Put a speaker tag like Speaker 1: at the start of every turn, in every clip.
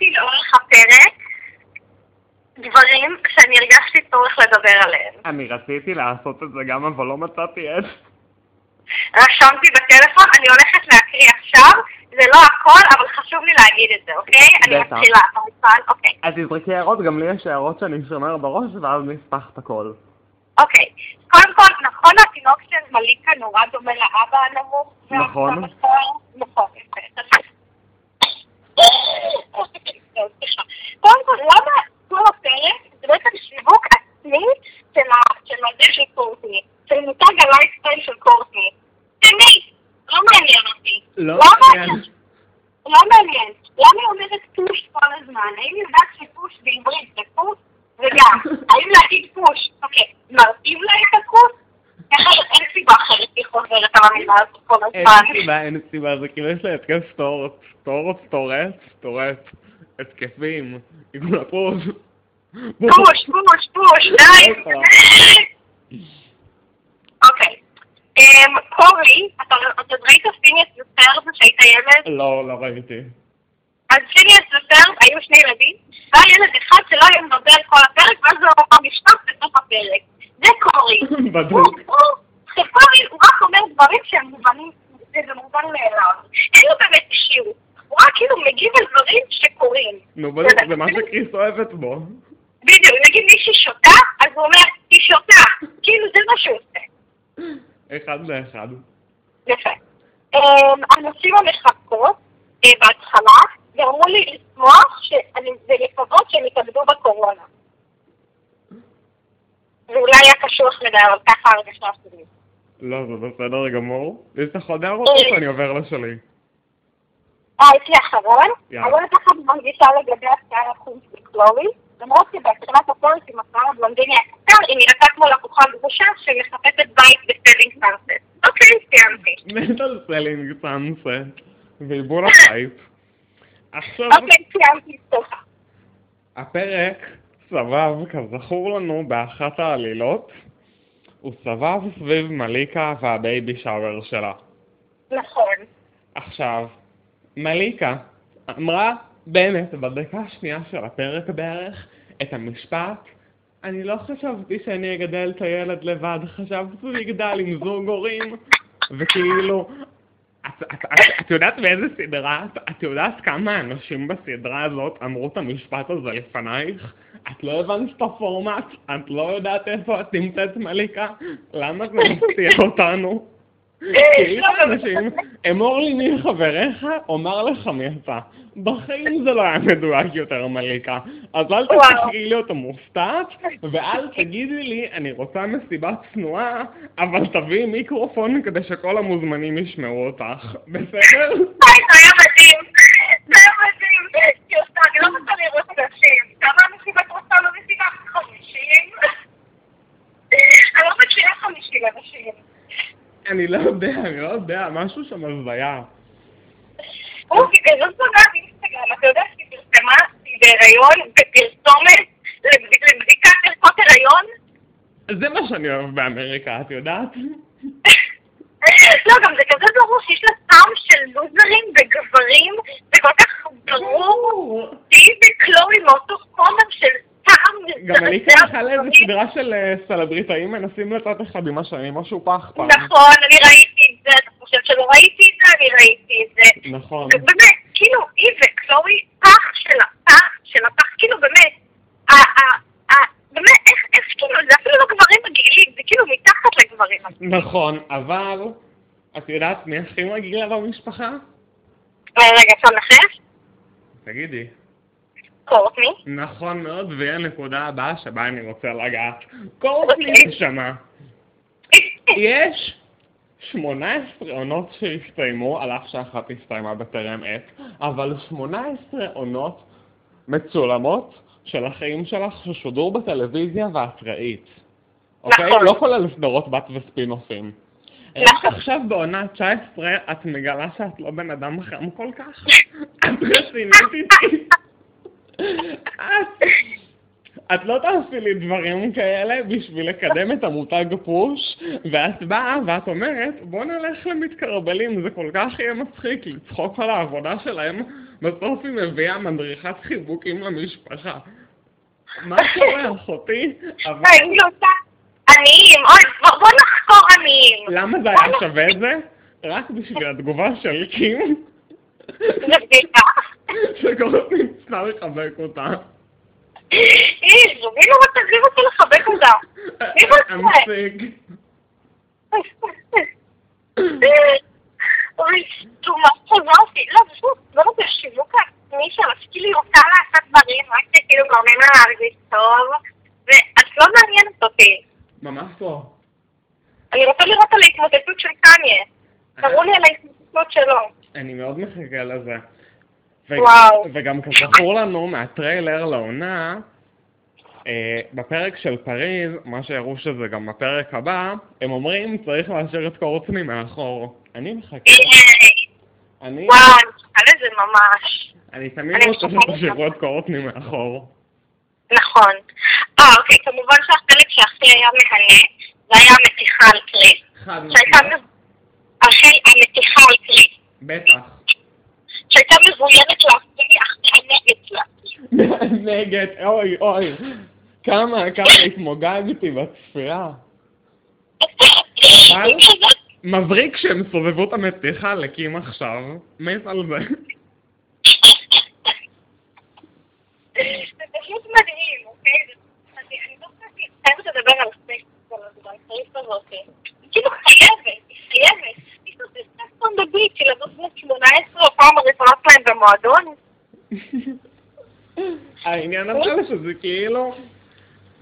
Speaker 1: לאורך הפרק דברים שאני הרגשתי צורך לדבר עליהם.
Speaker 2: אני רציתי לעשות את זה גם, אבל לא מצאתי את.
Speaker 1: רשמתי בטלפון, אני הולכת להקריא עכשיו, זה לא הכל, אבל חשוב לי להגיד את זה, אוקיי? אני
Speaker 2: בטח.
Speaker 1: מתחילה, אתה מוכן? אוקיי.
Speaker 2: אז תזרקי הערות, גם לי יש הערות שאני שומר בראש, ואז נפתח את הכל.
Speaker 1: אוקיי. קודם כל, נכון התינוק של מליקה נורא דומה לאבא הנמוך?
Speaker 2: נכון.
Speaker 1: והמסור? נכון, יפה. טוב, סליחה. קודם כל, למה כל הפרק זה בעצם שיווק עצמי של ה- של הזה של קורטני, של מותג הלייפסטייל של קורטני? תמיד, לא מעניין אותי. למה אתם לא מעניין. למה היא אומרת פוש כל הזמן? האם היא יודעת שפוש בעברית זה פוש? וגם, האם להגיד פוש, אוקיי, מראים לה את הכוס? איך אין סיבה אחרת היא חוזרת על המילה הזאת כל
Speaker 2: אין
Speaker 1: הזמן.
Speaker 2: סיבה, אין סיבה, זה כאילו יש לה התקף סטורט, סטורט, סטורט, סטורט, התקפים, עיגול הפרוס.
Speaker 1: פוש, פוש, פוש, די. אוקיי. אמ, קורי, אתה אתה עוד ראית פיניאס ופרב כשהיית ילד?
Speaker 2: לא, לא ראיתי.
Speaker 1: אז פיניאס ופרב היו שני ילדים, והיה ילד אחד שלא היה מדבר כל הפרק, ואז הוא אמר משפט בסוף הפרק. זה קורי. הוא,
Speaker 2: בדוק.
Speaker 1: הוא, קורי, הוא רק אומר דברים שהם מובנים, זה מובן מאליו. אין לו באמת אישיות. הוא רק כאילו מגיב על דברים שקורים.
Speaker 2: נו, בדוק, זה כאילו? מה שקריס אוהבת בו.
Speaker 1: בדיוק, נגיד מישהי שותה, אז הוא אומר, היא שותה. כאילו, זה מה שהוא עושה.
Speaker 2: אחד לאחד.
Speaker 1: יפה. אמ, הנשים המחכות אה, בהתחלה גרמו לי לשמוח שאני- ולקוות שהם יתאבדו בקורונה. זה אולי היה קשוח מדי, אבל ככה הרגשה שלי.
Speaker 2: לא, זה בסדר גמור. יש לך עוד הערות או שאני עובר לשלי?
Speaker 1: אה, יש לי אחרון.
Speaker 2: יאללה.
Speaker 1: אני לא יודעת איך את מרגישה לגבי השיער החום של קלורי, למרות שבהתחלת הפרק עם השיער הבלונדיני הקצר, היא נראתה כמו לקוחה גרושה שמחפשת בית בסטלינג סארסט. אוקיי, סיימתי.
Speaker 2: מת על סלינג סאנסט. ועיבול הפייפ. עכשיו...
Speaker 1: אוקיי, סיימתי, סליחה.
Speaker 2: הפרק סבב, כזכור לנו, באחת העלילות. הוא סבב סביב מליקה והבייבי שאוור שלה.
Speaker 1: נכון.
Speaker 2: עכשיו, מליקה אמרה באמת בדקה השנייה של הפרק בערך את המשפט אני לא חשבתי שאני אגדל את הילד לבד, חשבתי שהוא יגדל עם זוג הורים וכאילו, את, את, את, את יודעת באיזה סדרה, את, את יודעת כמה אנשים בסדרה הזאת אמרו את המשפט הזה לפנייך? את לא הבנת את הפורמט, את לא יודעת איפה את נמצאת מליקה, למה זה מפתיע אותנו? כאילו אנשים, אמור לי מי חבריך, אומר לך מי אתה. בחיים זה לא היה מדויק יותר מליקה. אז אל
Speaker 1: וואו.
Speaker 2: תתחילי להיות מופתעת, ואל תגידי לי, אני רוצה מסיבה צנועה, אבל תביאי מיקרופון כדי שכל המוזמנים ישמעו אותך. בסדר?
Speaker 1: וואי, זה היה מדהים. זה היה מדהים. כאילו, סתם, אני לא רוצה לראות אנשים. כמה אנשים את רוצה לא מסיבה? חמישים? אני לא מכירה חמישים אנשים.
Speaker 2: אני לא יודע, אני לא יודע, משהו שם הזיה.
Speaker 1: הוא בגלל סוגר לא באינסטגרם, אתה יודע שהיא פרסמה, היא בהיריון, בפרסומת, לבד- לבדיקת ערכות הריון?
Speaker 2: זה מה שאני אוהב באמריקה, את יודעת?
Speaker 1: לא, גם זה כזה ברור שיש לה טעם של לוזרים וגברים, זה כל כך ברור. היא וקלורי מאותו חומר של טעם
Speaker 2: גם אני
Speaker 1: מזעזע
Speaker 2: ככה לאיזה
Speaker 1: וגברים.
Speaker 2: סדרה של אה, סלבריטאים מנסים לצאת אחד עם השני, משהו פח פעם.
Speaker 1: נכון, אני ראיתי את זה, אתה חושב שלא ראיתי את זה, אני ראיתי את זה.
Speaker 2: נכון.
Speaker 1: באמת, כאילו, היא וקלורי, פח של הפח של הפח, כאילו באמת, ה- ה- ה- באמת, איך, איך, כאילו, זה אפילו לא גברים מגעילים, זה כאילו מתחת לגברים.
Speaker 2: נכון, אבל את יודעת מי הכי מגעילה במשפחה?
Speaker 1: אה, רגע, אפשר לנחש?
Speaker 2: תגידי.
Speaker 1: קורטני.
Speaker 2: נכון מאוד, והיא הנקודה הבאה שבה אני רוצה לגעת. קורטני
Speaker 1: אוקיי.
Speaker 2: נשמה. יש 18 עונות שהסתיימו, על אף שאחת הסתיימה בטרם עת, אבל 18 עונות מצולמות של החיים שלך ששודרו בטלוויזיה ואת ראית. אוקיי?
Speaker 1: נכון.
Speaker 2: לא כולל סדרות בת וספינופים. רק
Speaker 1: נכון.
Speaker 2: עכשיו בעונה 19 את מגלה שאת לא בן אדם חם כל כך? את רצינית איתי? את- את לא תעשי לי דברים כאלה בשביל לקדם את המותג פוש, ואת באה ואת אומרת, בוא נלך למתקרבלים, זה כל כך יהיה מצחיק לצחוק על העבודה שלהם בסוף היא מביאה מדריכת חיבוקים למשפחה. מה קורה, אחותי? אבל
Speaker 1: אני עושה עניים, אוי, בוא- בוא נחקור עניים.
Speaker 2: למה זה היה שווה את זה? רק בשביל התגובה של קים,
Speaker 1: זה בדיחה.
Speaker 2: שקוראים לי סתם לחבק אותה.
Speaker 1: איזו, מי לא רוצה, מי רוצה לחבק אותה? מי רוצה?
Speaker 2: אמסיק.
Speaker 1: אוי, תומא, חזרתי. לא, פשוט, לא רוצה שיווק עצמי שלך, כאילו היא רוצה לעשות דברים, רק שכאילו גורמים לה להרגיש טוב, ואת לא מעניינת אותי.
Speaker 2: ממש לא.
Speaker 1: אני רוצה לראות על ההתמוטטות של קניה. תראו לי על ההתמוטטות שלו.
Speaker 2: אני מאוד מחכה לזה. ו-
Speaker 1: וואו.
Speaker 2: וגם כזכור לנו מהטריילר לעונה, אה, בפרק של פריז, מה שהראו שזה גם בפרק הבא, הם אומרים צריך להשאיר את קורצני מאחור. אני מחכה. אני,
Speaker 1: וואו, אני חכה לזה ממש.
Speaker 2: אני תמיד
Speaker 1: אני
Speaker 2: רוצה
Speaker 1: מחכה
Speaker 2: שתשאירו
Speaker 1: לך.
Speaker 2: את קורצני מאחור.
Speaker 1: נכון. אה, אוקיי, כמובן שהחלק שהכי היה מהנה, זה היה המתיחה על קריס.
Speaker 2: חד
Speaker 1: שהייתה מב- החל המתיחה על קריס,
Speaker 2: בטח.
Speaker 1: שהייתה מבוירת להבטיח הנגד לה.
Speaker 2: נגד, אוי אוי. כמה, כמה התמוגגתי בצפייה. אבל- מבריק שהם סובבו את המתיחה לקים עכשיו. מת על זה.
Speaker 1: זה פשוט מדהים, אוקיי? זה- אני אני לא חושבת שהיא חייבת לדבר על הסקס כל הזמן, קריס הזאת. היא כאילו חייבת, היא חייבת. יש לו סקס on the beach, ילדות בנות 18, הפעם הראשונות שלהם במועדון.
Speaker 2: העניין אבל שזה כאילו,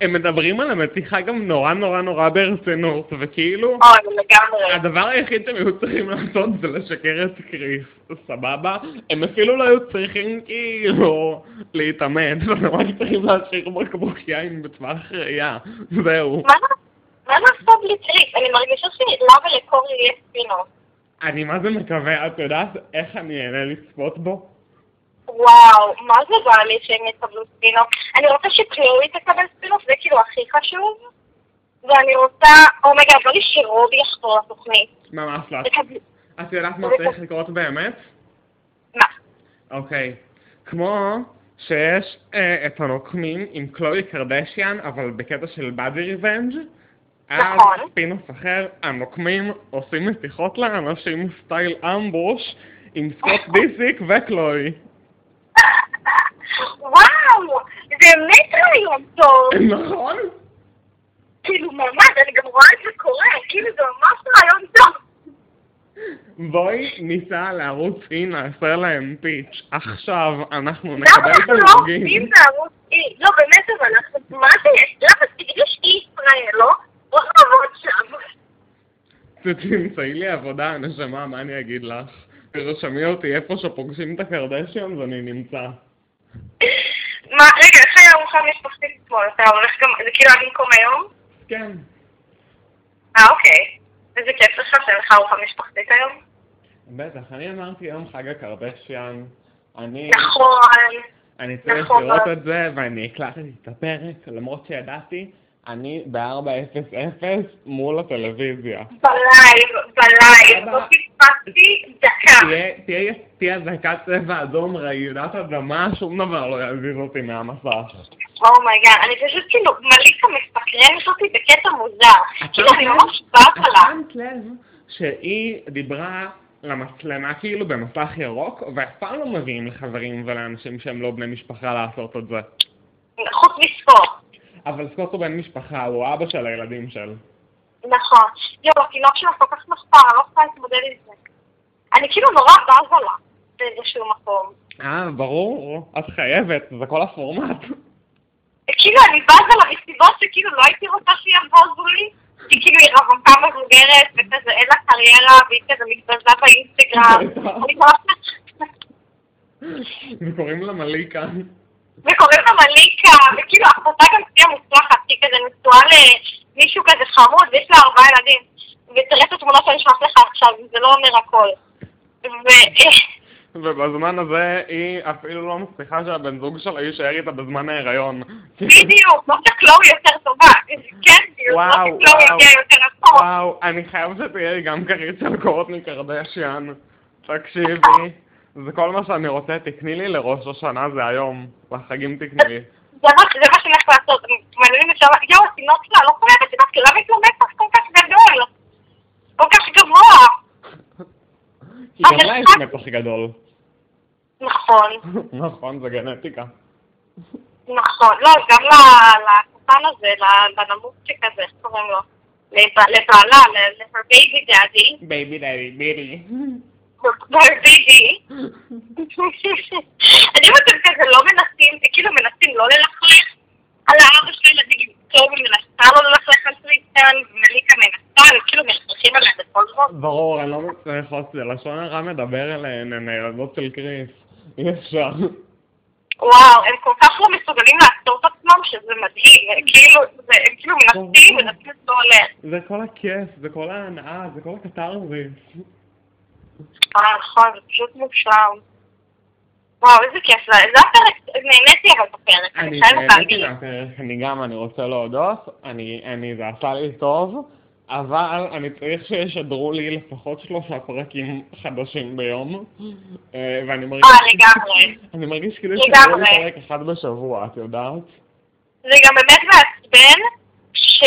Speaker 2: הם מדברים על המתיחה גם נורא נורא נורא ברצינות, וכאילו,
Speaker 1: אוי, לגמרי.
Speaker 2: הדבר היחיד שהם היו צריכים לעשות זה לשקר את קריס, סבבה? הם אפילו לא היו צריכים כאילו להתאמן, הם רק צריכים להשאיר בקבוק יין בטווח ראייה, זהו.
Speaker 1: מה מה לעשות בלי קריס? אני מרגישה שלמה לקורי יש ספינות.
Speaker 2: אני מה זה מקווה, את יודעת איך אני אהנה לצפות בו?
Speaker 1: וואו, מה זה בא לי שהם יקבלו ספינוף? אני רוצה שקלואי תקבל ספינוף, זה כאילו הכי חשוב. ואני רוצה, אומייגה, בא לי שרובי יחזור לתוכנית.
Speaker 2: ממש לא.
Speaker 1: תקבלי-
Speaker 2: את יודעת מה
Speaker 1: אוקיי.
Speaker 2: צריך לקרות באמת?
Speaker 1: מה?
Speaker 2: אוקיי. כמו שיש אה, את הנוקמים עם קלוי קרדשיאן, אבל בקטע של באדי ריבנג', אז
Speaker 1: נכון.
Speaker 2: ספינוף אחר, הנוקמים עושים מתיחות לאנשים סטייל אמבוש עם סקוט דיסיק וקלוי.
Speaker 1: וואו, זה באמת רעיון טוב.
Speaker 2: נכון?
Speaker 1: כאילו, ממש, אני גם רואה את זה קורה, כאילו, זה ממש רעיון טוב.
Speaker 2: בואי ניסע לערוץ E, נעשה להם פיץ'. עכשיו אנחנו
Speaker 1: למה
Speaker 2: נקבל את
Speaker 1: אנחנו לא
Speaker 2: הנוגים.
Speaker 1: עובדים בערוץ E? לא, באמת, אבל אנחנו, מה זה יש? למה? יש E ישראל, לא? בוא נעבוד שם.
Speaker 2: תמצאי לי עבודה, נשמה, מה אני אגיד לך? תרשמי אותי איפה שפוגשים את הקרדשיאן ואני נמצא.
Speaker 1: מה, רגע, איך היה ארוחה משפחתית אתמול? אתה הולך גם, זה כאילו היה במקום היום?
Speaker 2: כן.
Speaker 1: אה, אוקיי. איזה כיף לך שאין לך ארוחה משפחתית היום?
Speaker 2: בטח, אני אמרתי יום חג הקרדשיאן, אני,
Speaker 1: נכון.
Speaker 2: אני צריך
Speaker 1: נכון.
Speaker 2: לראות את זה, ואני הקלטתי את הפרק, למרות שידעתי, אני ב-4:00 מול הטלוויזיה.
Speaker 1: אה. בלייב, בלייב.
Speaker 2: אבל-
Speaker 1: לא פספסתי דקה.
Speaker 2: תהיה- תהיה- תהיה אזעקת צבע אדום, רעידת אדמה, שום דבר לא יזיז אותי מהמסך.
Speaker 1: אומייגאד, אני פשוט כאילו, מליקה מסקרנת אותי בקטע מוזר.
Speaker 2: את
Speaker 1: כאילו, אני
Speaker 2: שמת
Speaker 1: ממש באה
Speaker 2: לב- את לא
Speaker 1: עליו.
Speaker 2: שמת לב שהיא דיברה למצלמה כאילו במסך ירוק, ואף פעם לא מביאים לחברים ולאנשים שהם לא בני משפחה לעשות את זה.
Speaker 1: חוץ מספור.
Speaker 2: אבל סקוט הוא בן משפחה, הוא אבא של הילדים של.
Speaker 1: נכון. יואו, התינוק שלה כל כך מחפר, אני לא יכולה להתמודד עם זה. אני כאילו נורא בזה לה באיזשהו מקום.
Speaker 2: אה, ברור, את חייבת, זה כל הפורמט.
Speaker 1: כאילו אני בזה לה מסיבות שכאילו לא הייתי רוצה שיבוזו לי, כי כאילו היא רווקה מבוגרת וכזה אין לה קריירה והיא כזה מתבזה באינסטגרם.
Speaker 2: נכון.
Speaker 1: אני כל הזמן-
Speaker 2: וקוראים לה מליקה.
Speaker 1: וקוראים לה מליקה, וכאילו אחותה גם תהיה מוצלחת, היא כזה נשואה למישהו כזה חמוד ויש לה ארבעה ילדים. ותראה את התמונה שאני אשלח לך עכשיו, זה לא אומר הכל. ו-
Speaker 2: ובזמן הזה היא אפילו לא מצליחה שהבן זוג שלה יישאר איתה בזמן ההיריון.
Speaker 1: בדיוק, לא שקלואי יותר טובה. כן, בדיוק, לא
Speaker 2: וואו,
Speaker 1: שקלואי
Speaker 2: וואו.
Speaker 1: הגיע יותר רחוק.
Speaker 2: וואו, אני חייב שתהיה לי גם כרית של קורטני קרדשיאן. תקשיבי, זה כל מה שאני רוצה, תקני לי לראש השנה זה היום, לחגים תקני לי.
Speaker 1: זה מה זה מה שאני הולכת לעשות. מעניינים אפשר... יואו, התינוק שלה לא חייבת שדווקא למה יש לו מתח כל כך גדול? כל כך גבוה.
Speaker 2: כי גם לה יש מתח גדול.
Speaker 1: נכון,
Speaker 2: נכון, זה גנטיקה.
Speaker 1: נכון. לא, גם ל- לקטן הזה, לבנמוצ'יק הזה, איך קוראים לו? לבע- לבעלה, לבייבי דאדי,
Speaker 2: בייבי דייבי
Speaker 1: בייבי.
Speaker 2: ביבי.
Speaker 1: אני אם אתם כזה לא מנסים, כאילו מנסים לא ללכלך על האבא שלי, נגיד טובי מנסה לא ללכלך על טריסטן, ומליקה מנסה, הם כאילו מלכלכים עליה בכל זאת.
Speaker 2: ברור, אני לא מצליח לעשות את זה, לשון הרע מדבר אליהן, הן הילדות של קריס. אי אפשר.
Speaker 1: וואו, הם כל כך לא מסוגלים לעצור את עצמם, שזה מדהים, הם כאילו, זה, הם כאילו מנסים, מנסים שזה לא הולך.
Speaker 2: זה כל הכיף, זה כל ההנאה, זה כל הקתרזיס.
Speaker 1: אה, נכון, זה פשוט מופשר. וואו, איזה כיף זה, זה הפרק, נהניתי אבל בפרק, אני
Speaker 2: אני
Speaker 1: חייבת
Speaker 2: נהניתי
Speaker 1: להגיד.
Speaker 2: מהפרק, אני גם, אני רוצה להודות, אני, אני, זה עשה לי טוב, אבל אני צריך שישדרו לי לפחות שלושה פרקים חדשים ביום, אה, ואני מרגיש,
Speaker 1: אה, לגמרי.
Speaker 2: אני מרגיש כאילו
Speaker 1: לגמרי.
Speaker 2: שישדרו לי פרק אחד בשבוע, את יודעת?
Speaker 1: זה גם באמת מעצבן,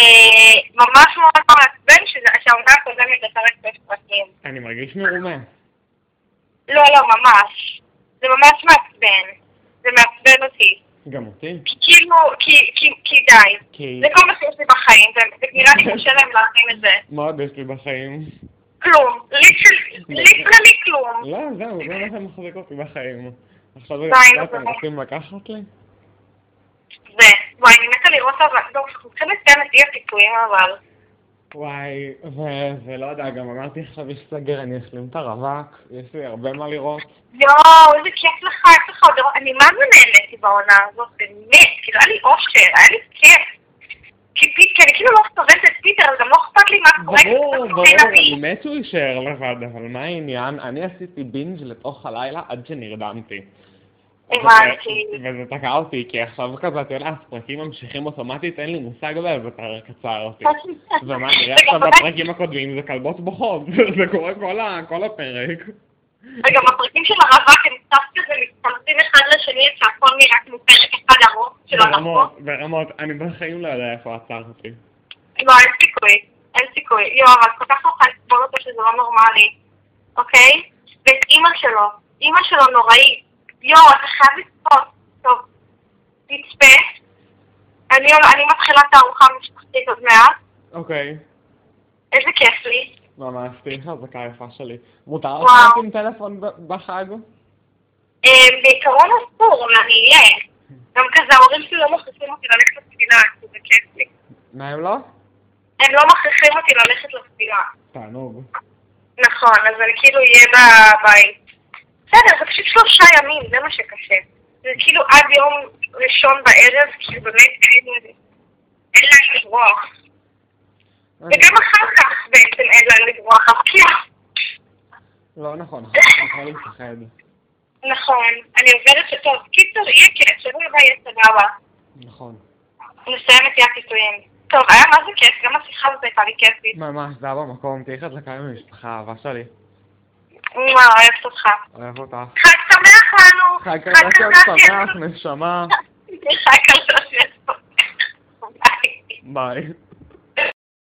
Speaker 1: שממש מאוד מעצבן שזה- שהעונה הקודמת בפרק שש פרקים.
Speaker 2: אני מרגיש מרומה.
Speaker 1: לא, לא, ממש. זה ממש מעצבן. זה מעצבן אותי.
Speaker 2: גם אותי.
Speaker 1: כי כאילו, כי, כי, כי די.
Speaker 2: כי
Speaker 1: זה כל מה שיש לי בחיים, זה זה נראה לי קשה להם להבין את זה.
Speaker 2: מה עוד יש לי בחיים?
Speaker 1: כלום. ליטרלי כלום.
Speaker 2: לא, זהו, זה מה שמחזיק אותי בחיים. עכשיו
Speaker 1: די,
Speaker 2: זה-
Speaker 1: נו,
Speaker 2: אתם
Speaker 1: באמת.
Speaker 2: רוצים לקחת לי?
Speaker 1: זה. וואי, אני מתה לראות אבל, טוב, אנחנו צריכים לסיים את אי הפיצויים אבל.
Speaker 2: וואי, ו- ולא יודע, גם אמרתי עכשיו יש סגר, אני אשלים את הרווק, יש לי הרבה מה לראות.
Speaker 1: יואו, איזה כיף לך, יש לך עוד... אני מה זה נהניתי בעונה הזאת, באמת, כאילו, היה לי אושר, היה לי כיף. כי פי- כי אני כאילו לא סובלת את פיטר, אז גם לא אכפת לי מה קורה. כי
Speaker 2: ברור,
Speaker 1: פשוט
Speaker 2: ברור,
Speaker 1: אין
Speaker 2: אני
Speaker 1: אבי.
Speaker 2: מת שהוא יישאר לבד, אבל מה העניין? אני עשיתי בינג' לתוך הלילה עד שנרדמתי.
Speaker 1: הבנתי.
Speaker 2: וזה- וזה תקע אותי, כי עכשיו כזה, אתה יודע, הפרקים ממשיכים אוטומטית, אין לי מושג בהם, זה פרק קצר אותי. ומה נראה
Speaker 1: זה גם
Speaker 2: עכשיו
Speaker 1: באמת-
Speaker 2: בפרקים הקודמים זה כלבות בוכות, זה קורה כל ה- כל הפרק.
Speaker 1: וגם הפרקים של הרווק הם קצת כזה מצטרפים אחד לשני, שהכל נראה כמו פרק אחד ארוך של הרווק.
Speaker 2: ברמות, ברמות, אני בחיים לא יודע איפה עצרתי.
Speaker 1: לא, אין סיכוי, אין סיכוי. יואו, אבל כל כך נוכל לסבול אותו שזה לא נורמלי, אוקיי? ואת אימא שלו, אימא שלו נוראית. יואו, אתה חייב לצפות. טוב, תצפה. אני, אני מתחילה את הארוחה המשפחתית עוד מעט.
Speaker 2: אוקיי.
Speaker 1: איזה כיף לי.
Speaker 2: ממש, תהיי חזקה יפה שלי. מותר לך
Speaker 1: וואו.
Speaker 2: להיות עם טלפון ב- בחג?
Speaker 1: אה, בעיקרון אסור, אבל אני אהיה. גם כזה ההורים שלי לא מכריחים אותי ללכת לתפילה, כי זה כיף לי.
Speaker 2: מה אם לא?
Speaker 1: הם לא מכריחים אותי ללכת לתפילה.
Speaker 2: תענוג.
Speaker 1: נכון, אז אני כאילו אהיה בבית. בסדר, זה פשוט שלושה ימים, זה מה שקשה. זה כאילו עד יום ראשון בערב, כאילו באמת אין, אין לאן לברוח.
Speaker 2: אה.
Speaker 1: וגם אחר כך בעצם אין לאן לברוח, אז כאילו,
Speaker 2: לא נכון, אחר כך יכול להתאחד.
Speaker 1: נכון, אני עוברת שטוב. קיצור, יהיה כיף, שבוע הבא יהיה סבבה.
Speaker 2: נכון.
Speaker 1: נסיים את יד פיתויים. טוב, היה מה זה כיף, גם השיחה הזאת הייתה לי כיפית.
Speaker 2: ממש, זה היה במקום, תהיי חזקה עם המשפחה, אהבה שלי.
Speaker 1: מה, אוהבת אותך.
Speaker 2: אוהב אותך.
Speaker 1: חג שמח לנו!
Speaker 2: חג כזה שמח, נשמה.
Speaker 1: חג כזה שמח. ביי.
Speaker 2: ביי.